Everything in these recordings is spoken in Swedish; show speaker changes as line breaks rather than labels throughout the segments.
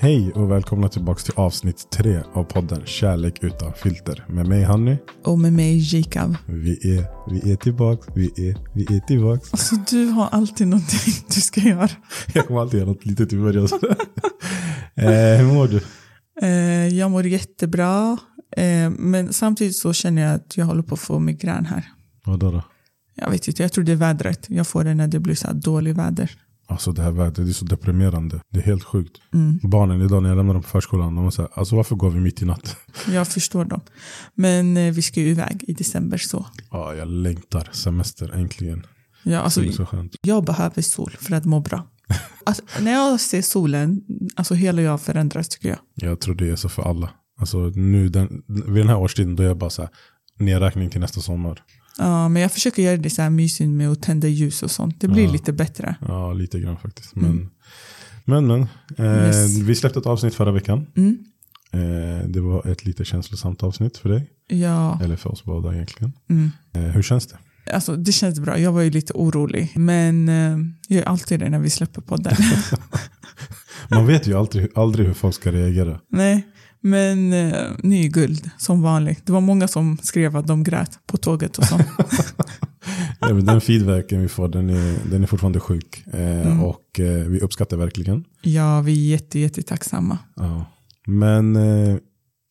Hej och välkomna tillbaka till avsnitt tre av podden Kärlek utan filter. Med mig Hanny.
Och med mig Jacob.
Vi är, vi är tillbaks, vi är, vi är tillbaks.
Alltså du har alltid någonting du ska göra.
Jag kommer alltid göra något litet i början. eh, hur mår du?
Eh, jag mår jättebra. Eh, men samtidigt så känner jag att jag håller på att få migrän här.
Vadå då?
Jag vet inte, jag tror det är vädret. Jag får det när det blir så här dåligt väder.
Alltså det här vädret, det är så deprimerande. Det är helt sjukt. Barnen idag när jag lämnar dem på förskolan, de säger alltså varför går vi mitt i natten?
Jag förstår dem. Men eh, vi ska ju iväg i december så.
Ja, jag längtar semester äntligen.
Ja, alltså,
Det är så skönt.
jag behöver sol för att må bra. Alltså, när jag ser solen, alltså hela jag förändras tycker jag.
Jag tror det är så för alla. Alltså nu den, vid den här årstiden då är jag bara så här, nedräkning till nästa sommar.
Ja, men jag försöker göra det så här mysigt med att tända ljus och sånt. Det blir
Ja.
lite bättre.
Ja, lite grann faktiskt. Men, men, men eh,
Mm. Yes.
vi släppte ett avsnitt förra veckan.
Mm.
Eh, det var ett lite känslosamt avsnitt för dig.
Ja.
Eller för oss båda egentligen.
Mm.
Eh, hur känns det?
Alltså, det känns bra. Jag var ju lite orolig. Men eh, jag är alltid det när vi släpper podden.
Man vet ju aldrig, aldrig hur folk ska reagera.
Nej, men eh, ni är guld som vanligt. Det var många som skrev att de grät på tåget och sånt.
Ja, men den feedbacken vi får den är, den är fortfarande sjuk. Eh,
Mm.
Och eh, vi uppskattar verkligen.
ja, vi är jätte, jättetacksamma.
Ja. Men eh,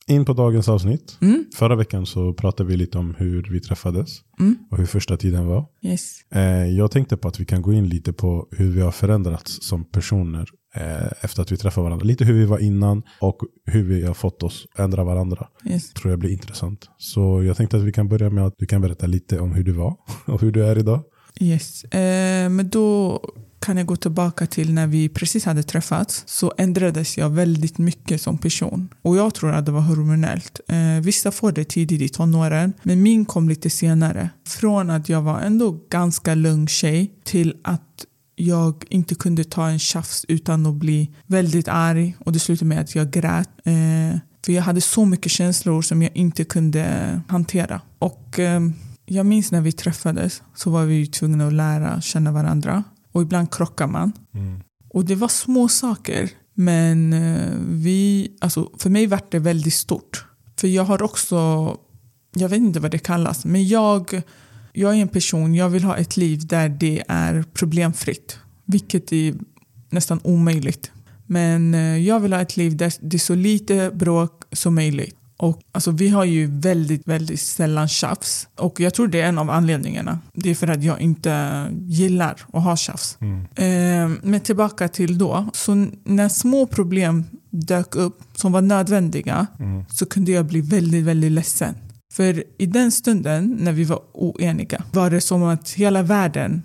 in på dagens avsnitt.
Mm.
Förra veckan så pratade vi lite om hur vi träffades
Mm.
och hur första tiden var.
Yes.
Eh, jag tänkte på att vi kan gå in lite på hur vi har förändrats som personer eh, efter att vi träffade varandra. Lite hur vi var innan och hur vi har fått oss att ändra varandra.
yes.
tror jag blir intressant. Så jag tänkte att vi kan börja med att du kan berätta lite om hur du var och hur du är idag.
Yes. Eh, men då kan jag gå tillbaka till när vi precis hade träffats så ändrades jag väldigt mycket som person. Och jag tror att det var hormonellt. Eh, vissa får det tidigt i tonåren men min kom lite senare. Från att jag var ändå ganska lugn tjej till att jag inte kunde ta en tjafs utan att bli väldigt arg och det slutade med att jag grät. Eh, för jag hade så mycket känslor som jag inte kunde hantera. Och... ehm, jag minns när vi träffades så var vi ju tvungna att lära känna varandra. Och ibland krockar man.
Mm,
Och det var små saker. Men eh, vi, alltså, för mig vart det väldigt stort. För jag har också, jag vet inte vad det kallas, men jag, jag är en person, jag vill ha ett liv där det är problemfritt. Vilket är nästan omöjligt. Men eh, jag vill ha ett liv där det är så lite bråk som möjligt. Och, alltså, vi har ju väldigt, väldigt sällan tjafs. Och jag tror det är en av anledningarna. Det är för att jag inte gillar att ha tjafs.
mm,
Eh, men tillbaka till då. Så n- när små problem dök upp som var nödvändiga
mm,
så kunde jag bli väldigt, väldigt ledsen. För i den stunden när vi var oeniga var det som att hela världen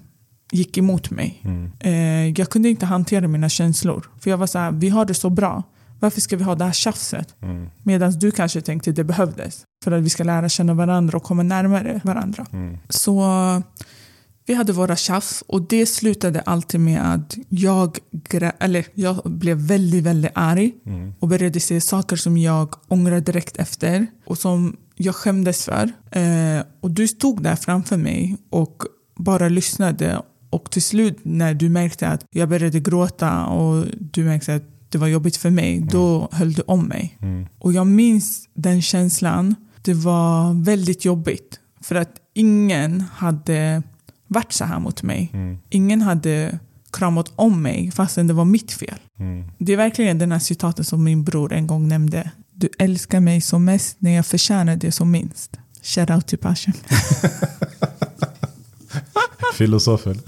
gick emot mig.
mm,
Eh, jag kunde inte hantera mina känslor. För jag var så här, vi har det så bra. Varför ska vi ha det här tjafset?
mm,
Medan du kanske tänkte det behövdes. För att vi ska lära känna varandra och komma närmare varandra.
mm,
Så vi hade våra tjafs och det slutade alltid med att jag, grä- eller jag blev väldigt, väldigt arg
mm,
och började se saker som jag ångrar direkt efter och som jag skämdes för. Eh, och du stod där framför mig och bara lyssnade och till slut när du märkte att jag började gråta och du märkte att det var jobbigt för mig, då höll du om mig.
mm,
Och jag minns den känslan. Det var väldigt jobbigt. För att ingen hade varit så här mot mig.
mm,
Ingen hade kramat om mig fastän det var mitt fel.
mm.
Det är verkligen den här citaten som min bror en gång nämnde. Du älskar mig som mest när jag förtjänar det som minst. Shoutout till Passion.
Filosofen.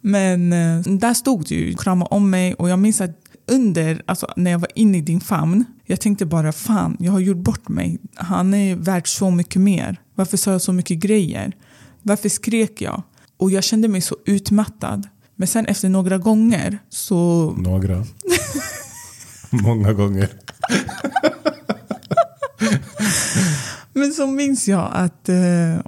Men eh, där stod du och kramade om mig och jag minns att under, alltså när jag var inne i din famn, jag tänkte bara fan, jag har gjort bort mig. Han är värd så mycket mer. Varför sa jag så mycket grejer? Varför skrek jag? Och jag kände mig så utmattad. Men sen efter några gånger så
Några. Många gånger.
Men så minns jag att, eh,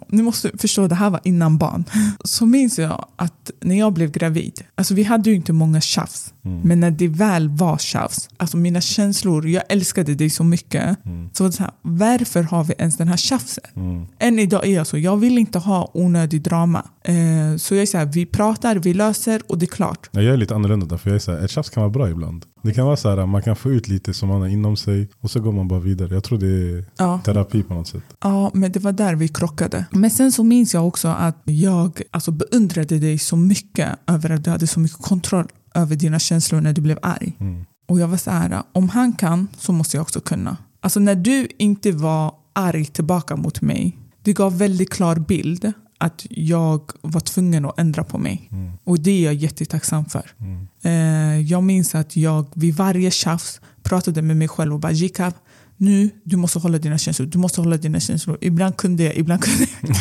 ni måste förstå det här var innan barn. Så minns jag att när jag blev gravid, alltså vi hade ju inte många tjafs.
Mm.
Men när det väl var tjafs, alltså mina känslor, jag älskade dig så mycket.
Mm.
Så, var det så här, varför har vi ens den här tjafsen?
Mm.
Än idag är jag så, jag vill inte ha onödig drama. Eh, så jag är så här, vi pratar, vi löser och det är klart.
Nej, Jag är lite annorlunda där, för jag är så här, ett tjafs kan vara bra ibland. Det kan vara så här, man kan få ut lite som man har inom sig och så går man bara vidare. Jag tror det är
Ja.
terapi på något sätt.
Ja, men det var där vi krockade. Men sen så minns jag också att jag alltså, beundrade dig så mycket över att du hade så mycket kontroll över dina känslor när du blev arg.
Mm.
Och jag var så här, om han kan så måste jag också kunna. Alltså när du inte var arg tillbaka mot mig, det gav väldigt klar bild att jag var tvungen att ändra på mig.
Mm.
Och det är jag jättetacksam för.
Mm.
Eh, jag minns att jag vid varje tjafs pratade med mig själv och bara Jikab, nu du måste hålla dina känslor. Du måste hålla dina känslor. Ibland kunde jag, ibland kunde jag.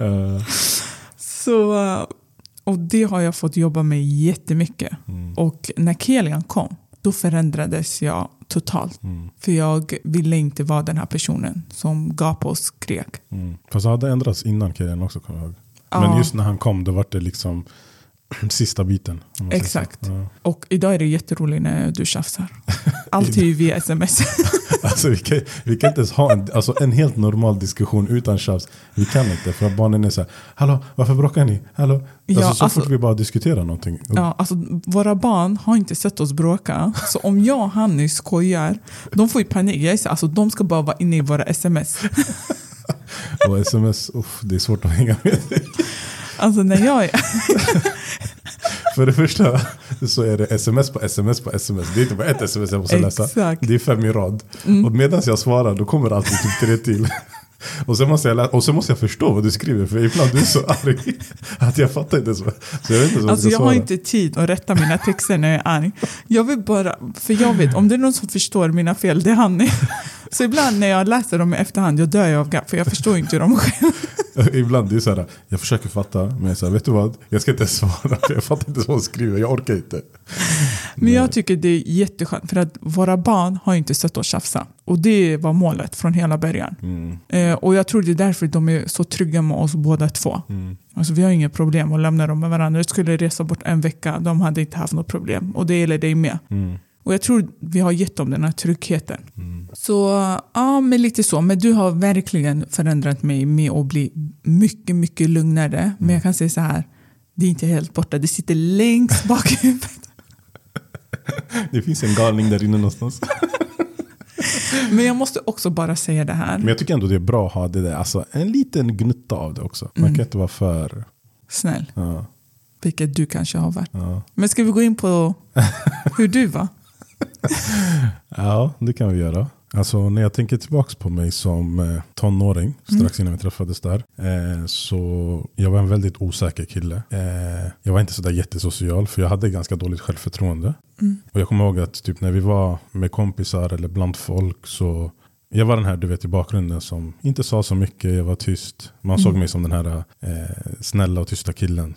Eh,
Så, eh, och det har jag fått jobba med jättemycket.
mm.
Och när Kelian kom, då förändrades jag totalt.
Mm.
För jag ville inte vara den här personen som gapade och skrek.
Mm. Fast han hade ändrats innan karriären också, kommer jag ihåg. Men
Ja.
just när han kom, då var det liksom sista biten. om man säger så.
Exakt.
Ja.
Och idag är det jätteroligt när du tjafsar. Allt är ju via sms.
Alltså, vi, kan, vi kan inte ens ha en, alltså, en helt normal diskussion utan tjafs. Vi kan inte, för att barnen är så här, hallå, varför bråkar ni? Hallå?
Ja,
alltså, så
alltså-
fort vi bara diskuterar någonting.
Ja, alltså, våra barn har inte sett oss bråka. Så om jag och Hanny skojar, de får ju panik. Jag är så, alltså, de ska bara vara inne i våra sms.
Och sms, uff, det är svårt att hänga med.
Alltså, när jag är,
För det första så är det sms på sms på sms. Det är inte bara ett sms jag måste läsa.
Exakt. Mm.
Det är fem i rad. Och medan jag svarar då kommer det alltid typ tre till. Och sen, måste jag lä- och sen måste jag förstå vad du skriver för ibland du är så arg att jag fattar inte. Så, så jag vet inte så
alltså,
jag
jag
ska svara.
har inte tid att rätta mina texter när jag är arg. Jag vill bara, för jag vet, om det är någon som förstår mina fel, det är Hanny. Så ibland när jag läser dem i efterhand, jag dör jag av gaff, för jag förstår inte dem själv.
Ibland det är så här, jag försöker fatta men jag säger vet du vad, jag ska inte ens svara för jag fattar inte vad hon skriver, jag orkar inte.
Men jag tycker det är jätteskönt, för att våra barn har inte sett oss tjafsa. Och det var målet från hela början.
Mm,
Eh, och jag tror det är därför de är så trygga med oss båda två.
mm,
Alltså, vi har inga problem att lämna dem med varandra. Jag skulle resa bort en vecka, de hade inte haft något problem. Och det gäller dig med.
mm,
Och jag tror vi har gett dem den här tryggheten.
mm.
Så ja, men lite så. Men du har verkligen förändrat mig med att bli mycket, mycket lugnare.
Mm.
Men jag kan säga så här, det är inte helt borta. Det sitter längst bak i huvudet.
Det finns en galning där inne någonstans.
Men jag måste också bara säga det här.
Men jag tycker ändå det är bra att ha det där, alltså en liten gnutta av det också. Man kan inte vara för...
Snäll,
Ja,
vilket du kanske har varit.
ja.
Men ska vi gå in på hur du var?
Ja, det kan vi göra. Alltså när jag tänker tillbaka på mig som eh, tonåring, strax innan vi träffades där, eh, så jag var en väldigt osäker kille. Eh, jag var inte sådär jättesocial, för jag hade ganska dåligt självförtroende. Och jag kommer ihåg att typ när vi var med kompisar eller bland folk så jag var den här du vet i bakgrunden som inte sa så mycket, jag var tyst. Man såg mig som den här eh, snälla och tysta killen.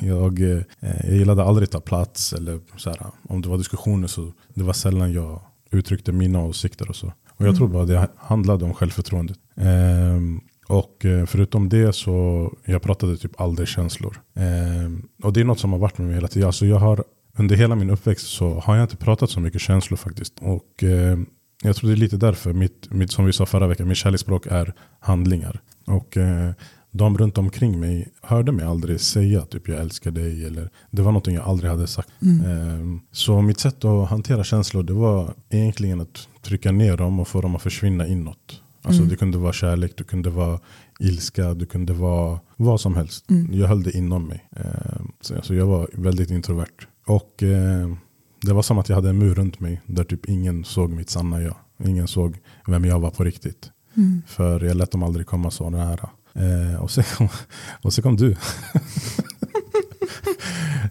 Jag, eh, jag gillade aldrig att ta plats eller så här, om det var diskussioner så det var sällan jag uttryckte mina åsikter och så. Och jag tror bara det handlade om självförtroendet. Ehm, och eh, förutom det så jag pratade typ aldrig känslor. Ehm, och det är något som har varit med mig hela tiden. Alltså jag har, under hela min uppväxt så har jag inte pratat så mycket känslor faktiskt. Och eh, jag tror det är lite därför, mitt, mitt, som vi sa förra veckan, mitt kärleksspråk är handlingar. Och eh, de runt omkring mig hörde mig aldrig säga typ jag älskar dig eller det var någonting jag aldrig hade sagt. Eh, Så mitt sätt att hantera känslor det var egentligen att trycka ner dem och få dem att försvinna inåt. Alltså det kunde vara kärlek, det kunde vara ilska, det kunde vara vad som helst. Jag höll det inom mig. Eh, Så alltså, jag var väldigt introvert. Och eh, det var som att jag hade en mur runt mig där typ ingen såg mitt sanna jag. Ingen såg vem jag var på riktigt.
Mm,
För jag lät dem aldrig komma så nära. Eh, och, sen kom, och sen kom du.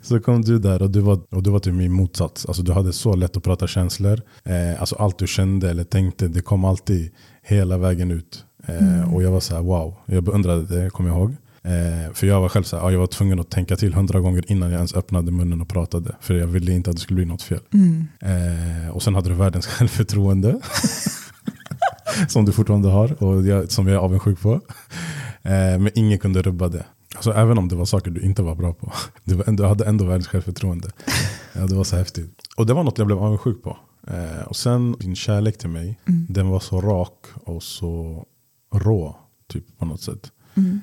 så kom du där och du var, och du var typ min motsats. Alltså, du hade så lätt att prata känslor. Eh, alltså, allt du kände eller tänkte, det kom alltid hela vägen ut. Eh, Och jag var så här, wow. Jag beundrade det, kommer jag ihåg. Eh, för jag var själv så här, ja, jag var tvungen att tänka till hundra gånger innan jag ens öppnade munnen och pratade. För jag ville inte att det skulle bli något fel.
mm,
Eh, och sen hade du världens självförtroende. som du fortfarande har och jag, som jag är avundsjuk på. Eh, men ingen kunde rubba det. Alltså även om det var saker du inte var bra på. Du, var ändå- du hade ändå världens självförtroende. Ja, det var så häftigt. Och det var något jag blev avundsjuk på. Eh, och sen din kärlek till mig, den var så rak och så rå typ på något sätt.
Mm.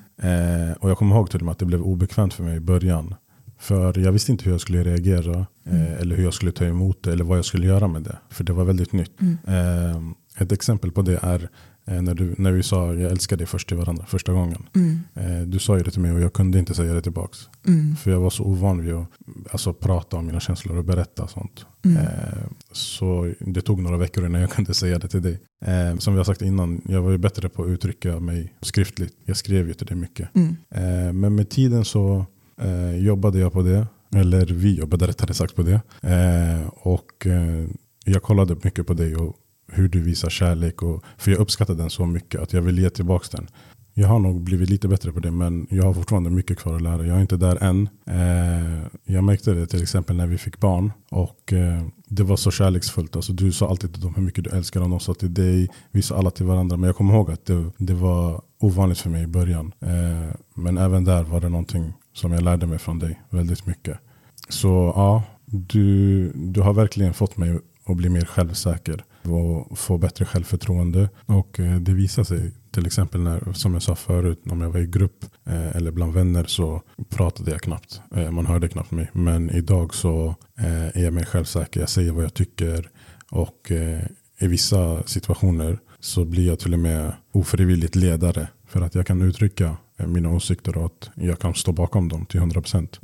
Eh, och jag kommer ihåg till och med att det blev obekvämt för mig i början. För jag visste inte hur jag skulle reagera eh, eller hur jag skulle ta emot det eller vad jag skulle göra med det. För det var väldigt nytt.
mm,
Eh, ett exempel på det är eh, när, du, när vi sa jag älskar dig först till varandra första gången.
Mm.
Eh, du sa ju det till mig och jag kunde inte säga det tillbaks.
Mm.
För jag var så ovan vid att alltså, prata om mina känslor och berätta sånt.
mm,
Eh, så det tog några veckor innan jag kunde säga det till dig. Eh, som vi har sagt innan, jag var ju bättre på att uttrycka mig skriftligt. Jag skrev ju till dig mycket.
Mm.
Eh, men med tiden så eh, jobbade jag på det. Eller vi jobbade rättare sagt på det. Eh, och eh, jag kollade mycket på dig och hur du visar kärlek. Och, för jag uppskattar den så mycket att jag vill ge tillbaka den. Jag har nog blivit lite bättre på det men jag har fortfarande mycket kvar att lära. Jag är inte där än. Eh, jag märkte det till exempel när vi fick barn och eh, det var så kärleksfullt. Alltså, du sa alltid till dem hur mycket du älskar dem, de sa till dig, vi sa alla till varandra. Men jag kommer ihåg att det, det var ovanligt för mig i början. Eh, men även där var det någonting som jag lärde mig från dig väldigt mycket. Så ja, du, du har verkligen fått mig att bli mer självsäker och få bättre självförtroende. Och eh, det visar sig till exempel när, som jag sa förut, om jag var i grupp eh, eller bland vänner så pratade jag knappt. Eh, Man hörde knappt mig. Men idag så eh, är jag mer självsäker, jag säger vad jag tycker och eh, i vissa situationer så blir jag till och med ofrivilligt ledare för att jag kan uttrycka eh, mina åsikter och att jag kan stå bakom dem till 100%.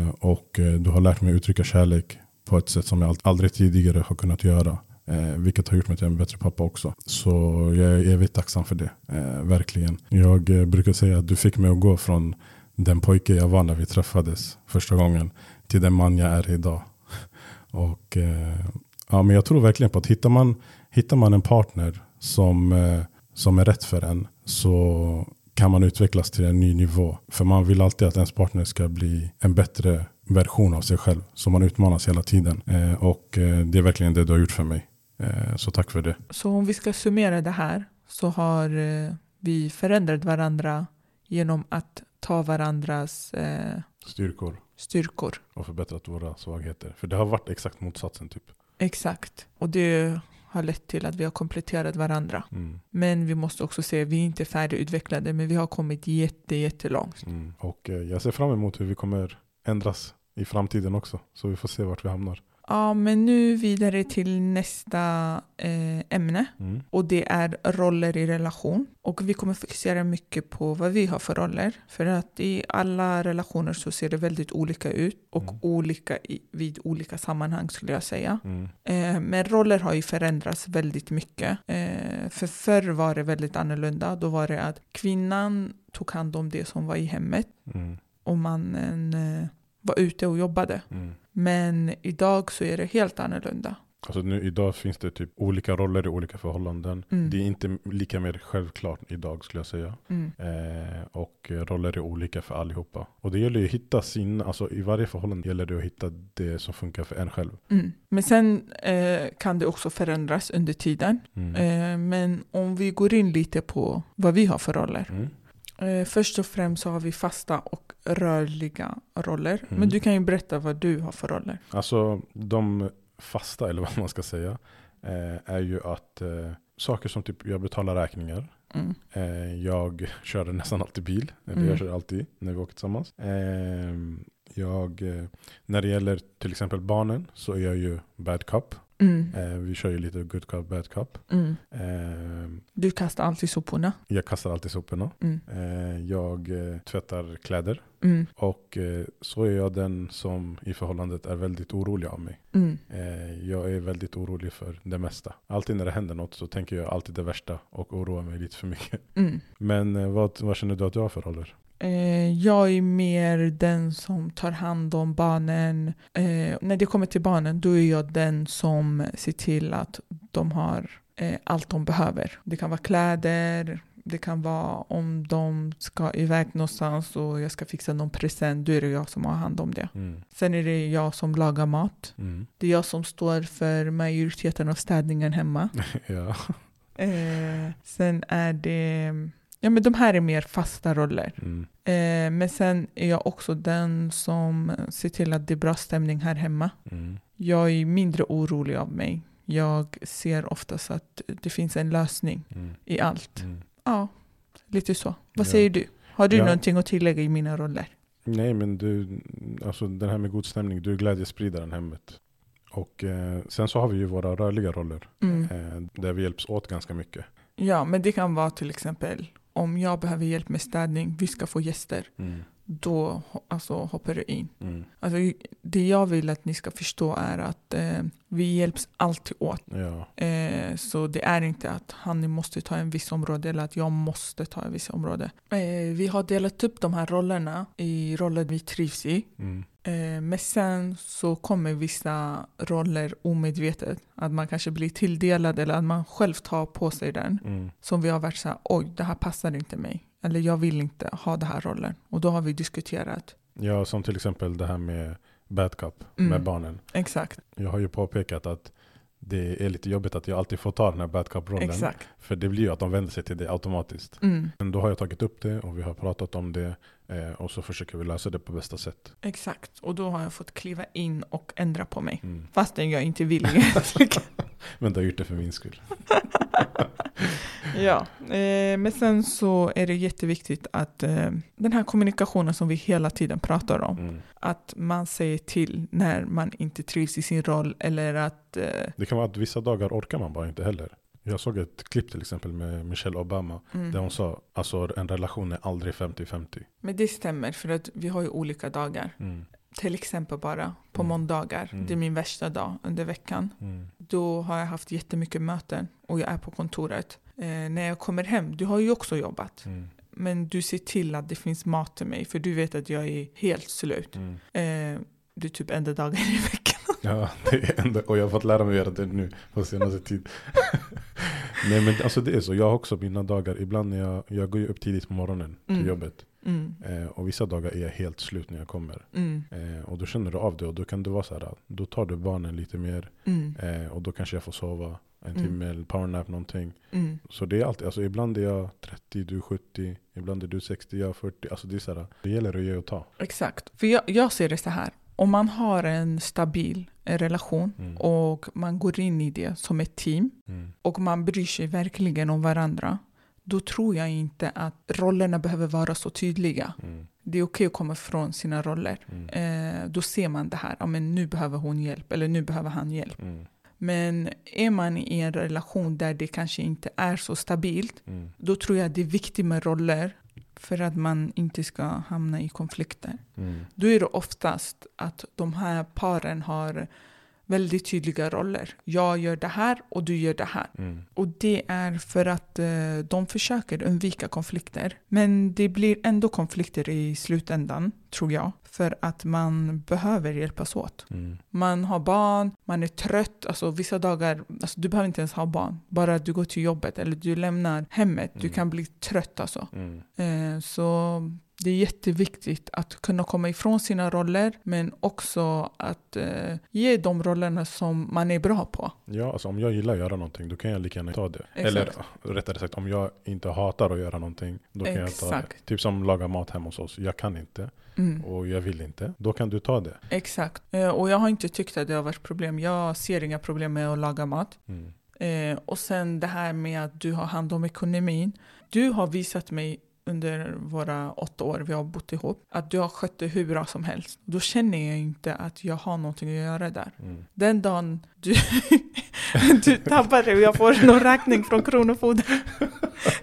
Eh, och eh, du har lärt mig uttrycka kärlek på ett sätt som jag ald- aldrig tidigare har kunnat göra. Eh, vilket har gjort mig till en bättre pappa också. Så jag är evigt tacksam för det. Eh, verkligen. Jag eh, brukar säga att du fick mig att gå från den pojke jag var när vi träffades första gången till den man jag är idag. Och eh, ja, men jag tror verkligen på att hittar man, hittar man en partner som, eh, som är rätt för en så kan man utvecklas till en ny nivå. För man vill alltid att ens partner ska bli en bättre version av sig själv. Så man utmanas hela tiden. Eh, och eh, det är verkligen det du har gjort för mig. Eh, så tack för det.
Så om vi ska summera det här så har eh, vi förändrat varandra genom att ta varandras eh,
Styrkor
styrkor.
och förbättrat våra svagheter. För det har varit exakt motsatsen typ.
Exakt. Och det har lett till att vi har kompletterat varandra.
Mm,
Men vi måste också se, vi är inte färdigutvecklade, men vi har kommit jätte, jättelångt.
mm. Och eh, jag ser fram emot hur vi kommer ändras i framtiden också. Så vi får se vart vi hamnar.
Ja, men nu vidare till nästa eh, ämne
Mm.
och det är roller i relation. Och vi kommer fokusera mycket på vad vi har för roller. För att i alla relationer så ser det väldigt olika ut och
Mm.
olika i, vid olika sammanhang skulle jag säga.
Mm.
Eh, men roller har ju förändrats väldigt mycket. Eh, för förr var det väldigt annorlunda. Då var det att kvinnan tog hand om det som var i hemmet
Mm.
och mannen eh, var ute och jobbade.
Mm.
Men idag så är det helt annorlunda.
Alltså nu idag finns det typ olika roller i olika förhållanden.
Mm.
Det är inte lika mer självklart idag skulle jag säga.
Mm.
Eh, och roller är olika för allihopa. Och det gäller ju att hitta sin, alltså i varje förhållande gäller det att hitta det som funkar för en själv.
Mm. Men sen eh, kan det också förändras under tiden.
Mm.
Eh, men om vi går in lite på vad vi har för roller.
Mm.
Eh, först och främst så har vi fasta och rörliga roller.
Mm.
Men du kan ju berätta vad du har för roller.
Alltså de fasta, eller vad man ska säga, eh, är ju att eh, saker som typ jag betalar räkningar,
Mm.
Eh, jag kör nästan alltid bil. Eller
Mm.
jag kör alltid när vi åker tillsammans. Eh, jag, eh, när det gäller till exempel barnen så är jag ju bad cop.
Mm.
Eh, vi kör ju lite good cop, bad cop.
Mm.
Eh,
Du kastar alltid soporna.
jag kastar alltid soporna.
Mm.
Eh, jag eh, tvättar kläder.
Mm.
Och eh, så är jag den som i förhållandet är väldigt orolig av mig.
Mm.
Eh, jag är väldigt orolig för det mesta. Alltid när det händer något så tänker jag alltid det värsta och oroar mig lite för mycket.
Mm.
Men eh, vad, vad känner du att du har för roller?
Eh, jag är mer den som tar hand om barnen. Eh, när det kommer till barnen då är jag den som ser till att de har eh, allt de behöver. Det kan vara kläder, det kan vara om de ska iväg någonstans och jag ska fixa någon present, då är det jag som har hand om det.
Mm.
Sen är det jag som lagar mat. Det är jag som står för majoriteten av städningen hemma.
Ja.
Eh, sen är det Ja, men de här är mer fasta roller.
Mm.
Eh, men sen är jag också den som ser till att det är bra stämning här hemma.
Mm.
Jag är mindre orolig av mig. Jag ser oftast att det finns en lösning
Mm.
i allt.
Mm.
Ja, lite så. Vad
Ja.
säger du? Har du
Ja.
någonting att tillägga i mina roller?
Nej, men du, alltså den här med god stämning, du är glädjespridaren hemmet. Och eh, sen så har vi ju våra rörliga roller,
Mm.
eh, där vi hjälps åt ganska mycket.
Ja, men det kan vara till exempel om jag behöver hjälp med städning, vi ska få gäster,
Mm.
då ho- alltså, hoppar du in. Alltså, det jag vill att ni ska förstå är att eh, vi hjälps alltid åt.
Ja,
Eh, så det är inte att han måste ta en viss område eller att jag måste ta en viss område. Eh, vi har delat upp de här rollerna i roller vi trivs i.
mm.
Eh, men sen så kommer vissa roller omedvetet. Att man kanske blir tilldelad eller att man själv tar på sig den.
Mm.
Som vi har varit så här, oj det här passar inte mig. Eller jag vill inte ha den här rollen. Och då har vi diskuterat.
ja, som till exempel det här med bad cup
Mm.
med barnen.
Exakt,
Jag har ju påpekat att det är lite jobbigt att jag alltid får ta den här bad cup-rollen.
exakt.
För det blir ju att de vänder sig till det automatiskt.
Mm,
Men då har jag tagit upp det och vi har pratat om det eh, och så försöker vi lösa det på bästa sätt.
exakt. Och då har jag fått kliva in och ändra på mig.
Mm.
Fastän jag inte vill egentligen.
Men du har gjort det för min skull.
Ja, eh, men sen så är det jätteviktigt att eh, den här kommunikationen som vi hela tiden pratar om,
Mm.
att man säger till när man inte trivs i sin roll eller att eh,
Det kan vara att vissa dagar orkar man bara inte heller. Jag såg ett klipp till exempel med Michelle Obama där
mm.
hon sa alltså en relation är aldrig 50-50.
Men det stämmer för att vi har ju olika dagar.
Mm.
Till exempel bara på
Mm.
måndagar,
Mm.
det är min värsta dag under veckan.
Mm.
Då har jag haft jättemycket möten och jag är på kontoret. Eh, när jag kommer hem, du har ju också jobbat,
Mm.
men du ser till att det finns mat till mig för du vet att jag är helt slut.
Mm.
Eh, det är typ enda dagen i veckan.
Ja, det är ändå, och jag har fått lära mig att göra det nu på senaste tid. Nej men alltså det är så, jag har också mina dagar, ibland när jag, jag går ju upp tidigt på morgonen till
Mm.
jobbet.
Mm,
Eh, och vissa dagar är jag helt slut när jag kommer.
mm,
Eh, och då känner du av det och då kan det vara så här, då tar du barnen lite mer
mm,
eh, och då kanske jag får sova en
Mm.
timme eller powernap någonting.
mm.
Så det är alltid, alltså ibland är jag 30, du 70, ibland är du 60, jag 40. Alltså det är så här, det gäller att ge och ta.
Exakt. För jag, jag ser det så här. Om man har en stabil eh, relation
Mm.
och man går in i det som ett team
Mm.
och man bryr sig verkligen om varandra då tror jag inte att rollerna behöver vara så tydliga.
Mm.
Det är okej att komma från sina roller.
Mm.
Eh, då ser man det här, ja, men nu behöver hon hjälp eller nu behöver han hjälp.
Mm.
Men är man i en relation där det kanske inte är så stabilt
Mm.
då tror jag det är viktigt med roller för att man inte ska hamna i konflikter.
Mm.
Då är det oftast att de här paren har väldigt tydliga roller. Jag gör det här och du gör det här.
Mm.
Och det är för att eh, de försöker undvika konflikter. Men det blir ändå konflikter i slutändan, tror jag. För att man behöver hjälpas åt.
Mm.
Man har barn, man är trött. Alltså, vissa dagar, alltså, du behöver inte ens ha barn. Bara att du går till jobbet eller du lämnar hemmet. Du
Mm.
kan bli trött alltså.
Mm.
Eh, Så det är jätteviktigt att kunna komma ifrån sina roller men också att eh, ge de rollerna som man är bra på.
Ja, alltså om jag gillar att göra någonting då kan jag lika gärna ta det.
Exakt.
Eller rättare sagt, om jag inte hatar att göra någonting då kan jag ta det.
Exakt.
Typ som laga mat hemma hos oss. Jag kan inte
Mm,
och jag vill inte. Då kan du ta det.
exakt. Eh, Och jag har inte tyckt att det har varit problem. Jag ser inga problem med att laga mat.
Mm.
Eh, Och sen det här med att du har hand om ekonomin. Du har visat mig under våra åtta år vi har bott ihop att du har skött det hur bra som helst. Då känner jag inte att jag har någonting att göra där.
Mm.
Den dagen du, du tappar det och jag får någon räkning från Kronofogden,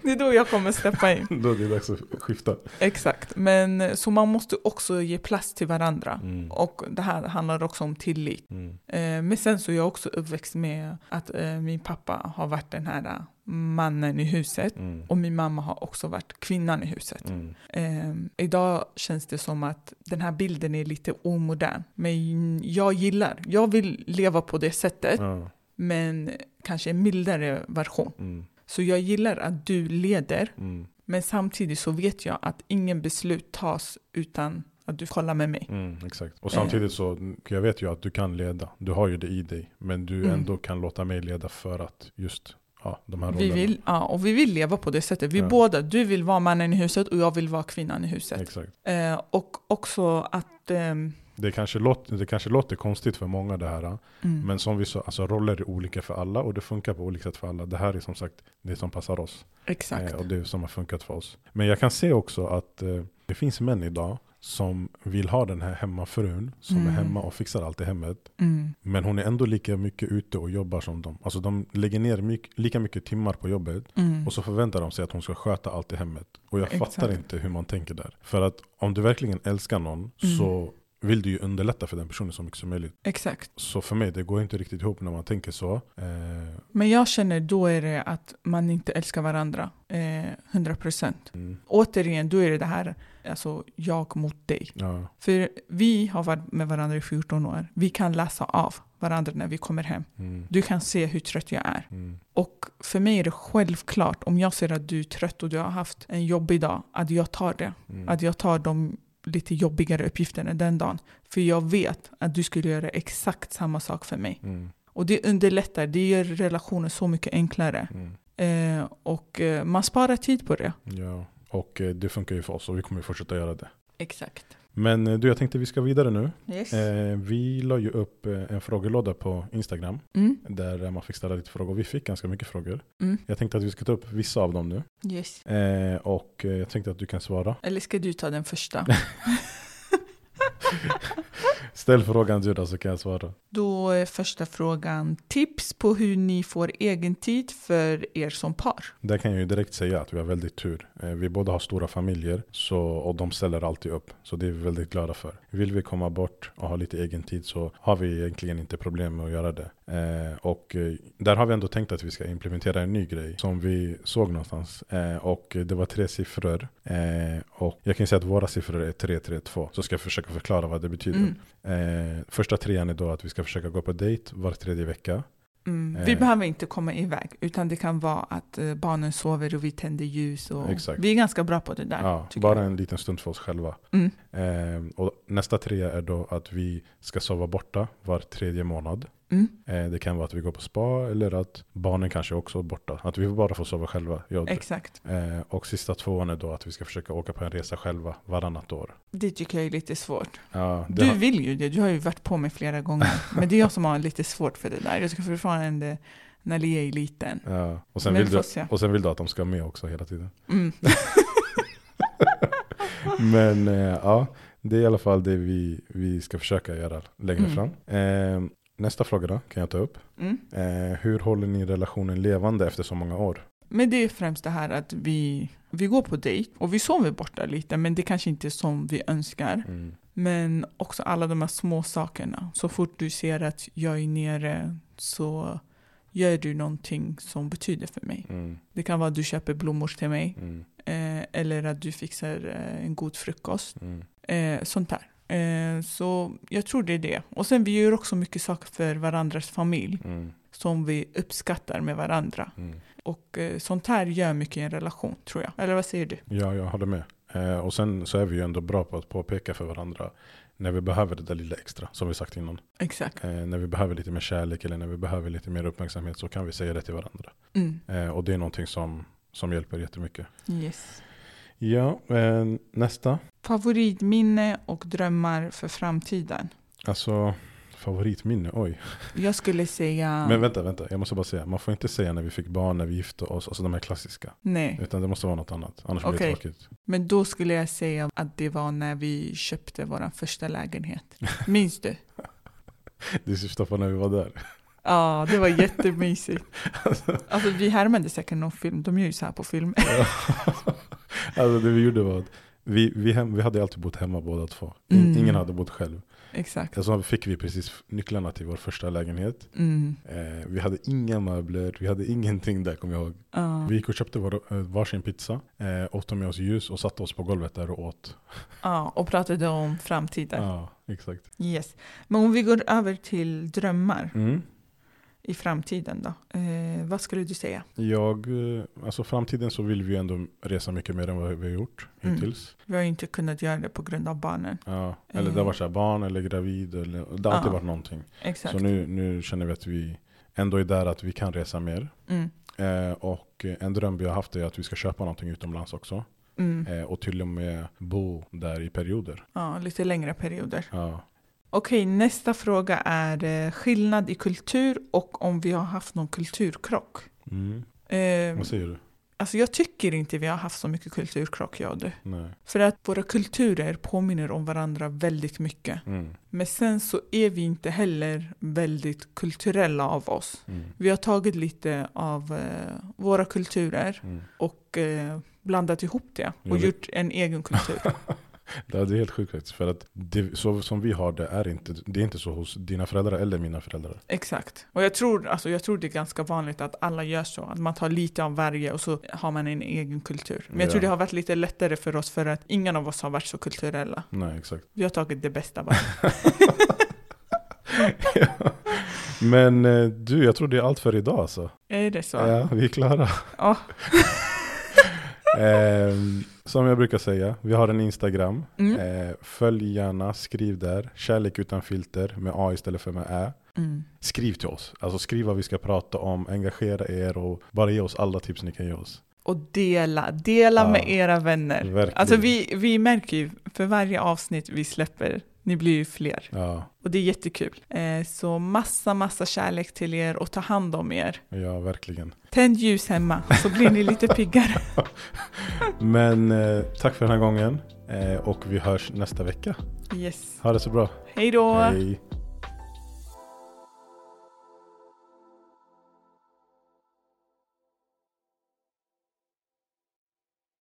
det är då jag kommer steppa in.
Då är det dags att skifta.
Exakt. Men, eh, så man måste också ge plats till varandra.
Mm.
Och det här handlar också om tillit.
Mm.
Eh, men sen så är jag också uppväxt med att eh, min pappa har varit den här eh, mannen i huset.
Mm.
Och min mamma har också varit kvinnan i huset.
Mm.
Eh, idag känns det som att den här bilden är lite omodern. Men jag gillar, jag vill leva på det sättet
Ja.
men kanske en mildare version.
Mm.
Så jag gillar att du leder,
Mm.
men samtidigt så vet jag att ingen beslut tas utan att du kollar med mig.
Mm, exakt. Och samtidigt så, jag vet ju att du kan leda. Du har ju det i dig. Men du
Mm.
ändå kan låta mig leda för att just ja, de här
Vi
rollerna.
vill, ja, och vi vill leva på det sättet. Vi
Ja.
båda, du vill vara mannen i huset och jag vill vara kvinnan i huset.
Exakt.
Eh, och också att... ehm,
Det kanske, låter, det kanske låter konstigt för många det här.
mm,
Men som vi sa, alltså roller är olika för alla och det funkar på olika sätt för alla. Det här är som sagt det som passar oss.
exakt.
Eh, och det som har funkat för oss. Men jag kan se också att eh, det finns män idag som vill ha den här hemmafrun som
Mm.
är hemma och fixar allt i hemmet.
Mm,
Men hon är ändå lika mycket ute och jobbar som dem. Alltså de lägger ner myk- lika mycket timmar på jobbet
mm,
och så förväntar de sig att hon ska sköta allt i hemmet. Och jag
Exakt.
fattar inte hur man tänker där. För att om du verkligen älskar någon
Mm.
så vill du ju underlätta för den personen så mycket som möjligt.
exakt.
Så för mig, det går inte riktigt ihop när man tänker så. Eh,
Men jag känner då är det att man inte älskar varandra. Eh, 100 procent.
mm,
Återigen, då är det det här, alltså jag mot dig.
ja,
För vi har varit med varandra i 14 år. Vi kan läsa av varandra när vi kommer hem.
mm,
Du kan se hur trött jag är.
mm,
Och för mig är det självklart, om jag ser att du är trött och du har haft en jobbig dag, att jag tar det.
mm,
Att jag tar de lite jobbigare uppgifterna den dagen. För jag vet att du skulle göra exakt samma sak för mig.
mm,
Och det underlättar, det gör relationen så mycket enklare.
mm,
Eh, och eh, man sparar tid på det.
ja. Och eh, det funkar ju för oss och vi kommer ju fortsätta göra det.
Exakt.
Men eh, du, jag tänkte vi ska vidare nu.
Yes.
Eh, vi la ju upp eh, en frågelåda på Instagram
Mm.
där eh, man fick ställa lite frågor. Vi fick ganska mycket frågor.
Mm.
Jag tänkte att vi ska ta upp vissa av dem nu.
Yes.
Eh, och eh, jag tänkte att du kan svara.
Eller ska du ta den första?
Ställ frågan du då så kan jag svara.
Då är första frågan tips på hur ni får egen tid för er som par.
Där kan jag ju direkt säga att vi har väldigt tur. Eh, Vi båda har stora familjer så, och de ställer alltid upp. Så det är vi väldigt glada för. Vill vi komma bort och ha lite egen tid så har vi egentligen inte problem med att göra det. Eh, och eh, där har vi ändå tänkt att vi ska implementera en ny grej som vi såg någonstans. Eh, och det var tre siffror. Eh, och jag kan ju säga att våra siffror är 332. Så ska jag försöka förklara vad det betyder.
Mm.
Eh, första trean är då att vi ska försöka gå på dejt var tredje vecka.
Mm. Vi
Eh.
behöver inte komma iväg, utan det kan vara att eh, barnen sover och vi tänder ljus. Och
Exakt.
Vi är ganska bra på det där.
Ja,
tycker
bara
jag.
en liten stund för oss själva.
Mm.
Ehm, och nästa trea är då att vi ska sova borta var tredje månad.
Mm.
Eh, det kan vara att vi går på spa eller att barnen kanske också är borta. Att vi bara får sova själva. Jag och du.
Exakt.
Eh, och sista tvåan är då att vi ska försöka åka på en resa själva varannat år.
Det tycker jag är lite svårt.
Ja, det
Du
har-
vill ju det, du har ju varit på mig flera gånger. Men det är jag som har lite svårt för det där. Jag tycker fortfarande när Lia är liten.
ja, och, sen
Men
vill du,
får se.
och sen vill du att de ska med också hela tiden.
Mm.
Men eh, ja, det är i alla fall det vi, vi ska försöka göra längre
Mm.
fram. Ehm, nästa fråga då kan jag ta upp.
Mm.
Eh, hur håller ni relationen levande efter så många år?
Men det är främst det här att vi, vi går på dejt och vi sover borta lite, men det kanske inte är som vi önskar.
Mm,
Men också alla de här små sakerna. Så fort du ser att jag är nere så gör du någonting som betyder för mig.
Mm,
Det kan vara att du köper blommor till mig
mm,
eh, eller att du fixar eh, en god frukost.
mm,
Eh, sånt där. Eh, så jag tror det är det. Och sen vi gör också mycket saker för varandras familj
mm,
som vi uppskattar med varandra.
mm.
Och eh, sånt här gör mycket i en relation tror jag. Eller vad säger du?
Ja, jag håller med. Eh, och sen så är vi ju ändå bra på att påpeka för varandra när vi behöver det där lilla extra, som vi sagt innan.
Exakt.
Eh, när vi behöver lite mer kärlek eller när vi behöver lite mer uppmärksamhet så kan vi säga det till varandra.
Mm.
Eh, och det är någonting som, som hjälper jättemycket.
Yes.
Ja, eh, nästa.
Favoritminne och drömmar för framtiden?
Alltså, favoritminne, oj.
Jag skulle säga...
Men vänta, vänta, jag måste bara säga. Man får inte säga när vi fick barn, när vi gifte oss, alltså de här klassiska.
Nej,
Utan det måste vara något annat, annars blir det
Okej.
tråkigt.
men då skulle jag säga att det var när vi köpte vår första lägenhet. Minns du?
Det syftar på när vi var där.
Ja, det var jättemysigt. Alltså vi härmade säkert någon film, de gör ju så här på film.
alltså det vi gjorde var att vi, vi, hem, vi hade alltid bott hemma båda två. In,
Mm.
Ingen hade bott själv.
Exakt.
Alltså fick vi precis nycklarna till vår första lägenhet.
Mm.
Eh, vi hade inga möbler, vi hade ingenting där kommer jag ihåg.
Ja,
Vi gick och köpte vår, eh, varsin pizza, eh, åt med oss ljus och satte oss på golvet där och åt.
Ja, och pratade om framtiden.
Ja, exakt.
Yes. Men om vi går över till drömmar
Mm.
i framtiden då. Eh, vad skulle du säga?
Jag, eh, alltså framtiden så vill vi ju ändå resa mycket mer än vad vi har gjort
Mm.
hittills.
Vi har ju inte kunnat göra det på grund av barnen.
Ja, eller det har
Mm.
varit så här barn eller gravid, eller, det har alltid
Ja.
varit någonting.
Exakt.
Så nu, nu känner vi att vi ändå är där att vi kan resa mer.
Mm.
Eh, och en dröm vi har haft är att vi ska köpa någonting utomlands också.
Mm.
Eh, och till och med bo där i perioder.
Ja, lite längre perioder.
Ja.
Okej, nästa fråga är eh, skillnad i kultur och om vi har haft någon kulturkrock. Eh,
Mm. Vad säger du?
alltså jag tycker inte vi har haft så mycket kulturkrock, jag och du.
Nej.
För att våra kulturer påminner om varandra väldigt mycket.
Mm.
Men sen så är vi inte heller väldigt kulturella av oss.
Mm.
Vi har tagit lite av eh, våra kulturer
Mm.
och eh, blandat ihop det
Jag
och
vet.
gjort en egen kultur.
Det är helt sjukt faktiskt. För att det, så som vi har det är inte, det är inte så hos dina föräldrar eller mina föräldrar.
Exakt. Och jag tror, alltså, jag tror det är ganska vanligt att alla gör så. Att man tar lite av varje och så har man en egen kultur. Men jag
Ja.
tror det har varit lite lättare för oss för att ingen av oss har varit så kulturella.
Nej, exakt.
Vi har tagit det bästa bara.
Men eh, du, jag tror det är allt för idag alltså.
är det så?
Ja, vi är klara.
Ja.
Ehm, som jag brukar säga, vi har en Instagram.
Mm.
Eh, följ gärna, skriv där. Kärlek utan filter med A istället för med Ä.
Mm.
Skriv till oss. Alltså skriv vad vi ska prata om, engagera er och bara ge oss alla tips ni kan ge oss.
Och dela, dela
Ja. Mm.
med era vänner.
Verkligen.
Alltså vi, vi märker ju för varje avsnitt vi släpper, ni blir ju fler.
Ja,
Och det är jättekul. Eh, så massa, massa kärlek till er och ta hand om er.
ja, verkligen.
Tänd ljus hemma så blir ni lite piggare.
Men eh, tack för den här gången eh, och vi hörs nästa vecka.
Yes.
Ha det så bra.
Hej då!
Hej.